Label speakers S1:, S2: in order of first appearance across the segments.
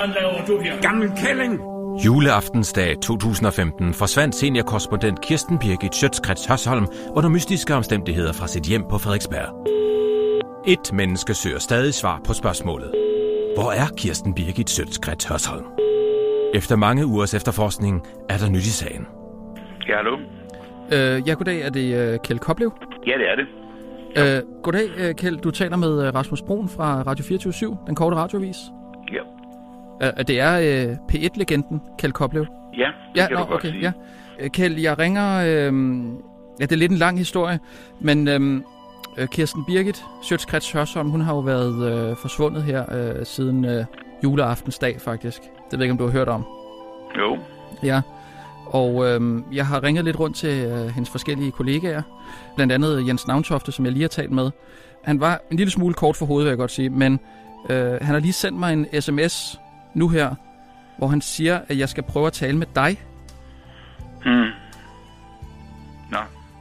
S1: han laver du her?
S2: Gammel kælling!
S3: Juleaftensdag 2015 forsvandt seniorkorrespondent Kirsten Birgit Schøtzgrads Hørsholm under mystiske omstændigheder fra sit hjem på Frederiksberg. Et menneske søger stadig svar på spørgsmålet. Hvor er Kirsten Birgit Schøtzgrads Hørsholm? Efter mange ugers efterforskning er der nyt i sagen.
S4: Ja, hallo?
S5: Øh, ja, goddag. Er det øh, Kjeld Koplev?
S4: Ja, det er det.
S5: Øh, goddag, øh, Kjeld. Du taler med øh, Rasmus Broen fra Radio 24 den korte radiovis.
S4: Ja,
S5: Øh, det er øh, P1-legenden Kjeld Koplev.
S4: ja det kan du godt sige.
S5: ja. Øh, Kjeld, jeg ringer... Øh, ja, det er lidt en lang historie, men... Øh, øh, Kirsten Birgit Sjøtskrets Hørsholm, hun har jo været øh, forsvundet her øh, siden øh, juleaftensdag, faktisk. Det ved jeg ikke, om du har hørt om.
S4: Jo,
S5: Ja, og øhm, jeg har ringet lidt rundt til øh, hendes forskellige kollegaer, blandt andet øh, Jens Navntofte, som jeg lige har talt med. Han var en lille smule kort for hovedet, vil jeg godt sige, men øh, han har lige sendt mig en sms nu her, hvor han siger, at jeg skal prøve at tale med dig.
S4: Hmm. Nå,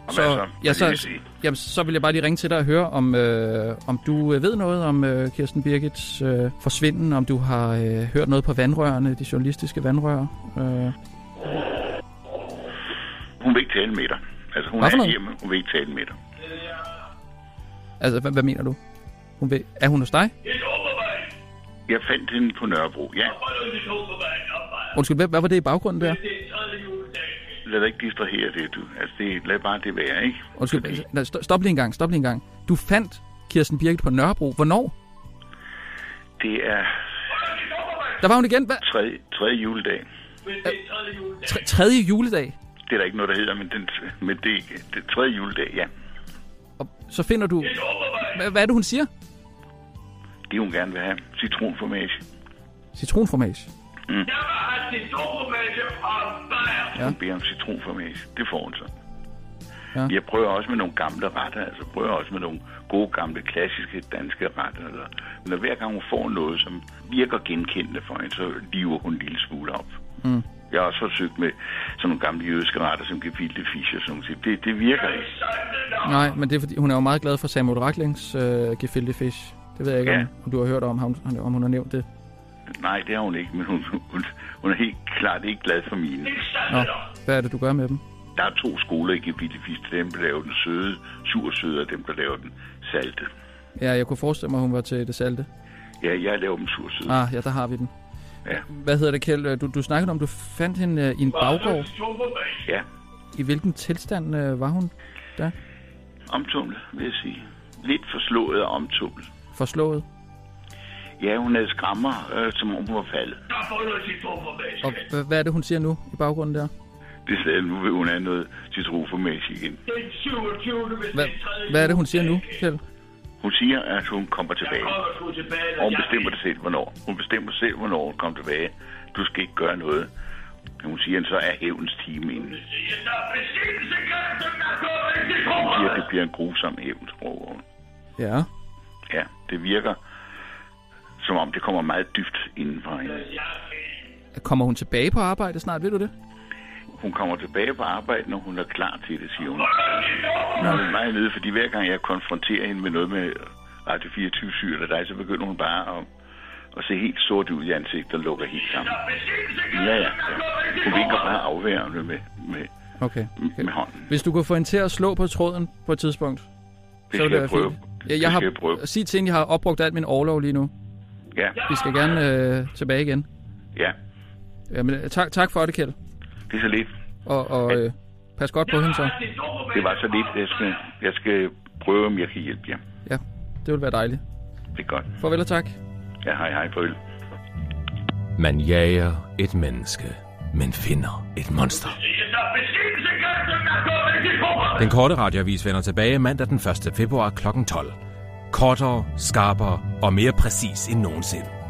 S4: og
S5: Så-
S4: så, hvad så?
S5: ja,
S4: Ja,
S5: så-
S4: så... Sige?
S5: Jamen, så vil jeg bare lige ringe til dig og høre, om, øh, om du øh, ved noget om øh, Kirsten Birgits øh, forsvinden, om du har øh, hørt noget på vandrørene, de journalistiske vandrør. Øh,
S4: Hun vil ikke tale med dig. Altså, hun
S5: Hvad for
S4: er
S5: noget?
S4: hjemme, hun vil ikke tale med dig.
S5: altså, hvad, hvad mener du? Hun ved, er hun hos dig?
S4: Jeg fandt hende på Nørrebro. Ja,
S5: Undskyld, hvad, hvad var det i baggrunden der?
S4: lad dig ikke distrahere det, du. Altså, det, lad bare det være, ikke?
S5: Undskyld, nej, sto- stop lige en gang, stop lige en gang. Du fandt Kirsten Birgit på Nørrebro. Hvornår?
S4: Det er
S5: Der var hun igen. Hvad?
S4: tredje, tredje juledag.
S5: Tre- tredje juledag.
S4: Det er der ikke noget, der hedder, men, den, men det, det er tredje juledag, ja.
S5: Og så finder du... Hva- Hvad er det, hun siger?
S4: Det hun gerne vil have. Citronformage.
S5: Citronformage.
S4: Ja. Hun beder om citronformage. Det får hun så.
S5: Ja.
S4: Ja. Jeg prøver også med nogle gamle retter, altså prøver også med nogle gode gamle klassiske danske retter. Eller, når hver gang hun får noget, som virker genkendende for hende, så lever hun en lille smule op. Mm. Jeg har også forsøgt med sådan nogle gamle jødiske retter, som gefilte fish og sådan noget. Det, det virker ikke.
S5: Nej, men det er fordi, hun er jo meget glad for Samuel Racklings øh, gefilte fish. Det ved jeg ikke,
S4: Ja.
S5: ja. om du har hørt om, om, om hun har nævnt det.
S4: Nej, det har hun ikke, men hun, hun, hun er helt klart ikke glad for mine.
S5: Nå, hvad er det, du gør med dem?
S4: Der er to skoler i gefilte fish. Dem, der laver den søde, sursøde, og dem, der laver den salte.
S5: Ja, jeg kunne forestille mig, hun var til det salte.
S4: Ja, jeg laver dem sursøde.
S5: Ah, ja, der har vi den.
S4: Ja.
S5: Hvad hedder det, Kjeld? Du, du snakkede om, du fandt hende øh, i en baggård.
S4: Ja.
S5: I hvilken tilstand øh, var hun der?
S4: Omtumlet, vil jeg sige. Lidt forslået og omtumlet.
S5: Forslået?
S4: Ja, hun havde skrammer, øh, som om hun var faldet.
S5: Og h- hvad er det, hun siger nu i baggrunden der?
S4: Det sagde jeg, nu vil hun have noget citronformage igen.
S5: Hvad, hvad er det, hun siger nu, Kjeld?
S4: Hun siger, at hun kommer tilbage. Og hun bestemmer det selv, hvornår. Hun bestemmer selv, hvornår hun kommer tilbage. Du skal ikke gøre noget. Men hun siger, at så er hævnens time inde. Hun siger, at det bliver en grusom hævn, tror hun.
S5: Ja.
S4: Ja, det virker, som om det kommer meget dybt indenfor hende.
S5: Kommer hun tilbage på arbejde snart, ved du det?
S4: Hun kommer tilbage på arbejde, når hun er klar til det, siger hun. Nå, det er meget nede, fordi hver gang jeg konfronterer hende med noget med Radio 24 syg eller dig, så begynder hun bare at, at se helt sort ud i ansigtet og lukker helt sammen. Ja, ja. ja. Hun vinker bare afværende med, med,
S5: Okay.
S4: med hånden.
S5: Hvis du kunne få hende til at slå på tråden på et tidspunkt, så
S4: Det
S5: ville
S4: skal jeg prøve.
S5: Ja,
S4: Det
S5: jeg
S4: skal
S5: har,
S4: jeg prøve.
S5: Sig til hende, jeg har opbrugt alt min overlov lige nu.
S4: Ja,
S5: Vi skal gerne øh, tilbage igen.
S4: ja.
S5: Jamen, øh, tak, tak for det, Kjeld.
S4: Det er så lidt.
S5: Og, og øh, pas godt på hende så.
S4: Det var så lidt. Jeg skal, jeg skal prøve, om jeg kan hjælpe jer.
S5: Ja, det ville være dejligt.
S4: Det er godt.
S5: Farvel og tak.
S4: Ja, hej, hej, farvel.
S3: Man jager et menneske, men finder et monster. Den korte radioavis vender tilbage mandag den 1. februar kl. 12. Kortere, skarpere og mere præcis end nogensinde.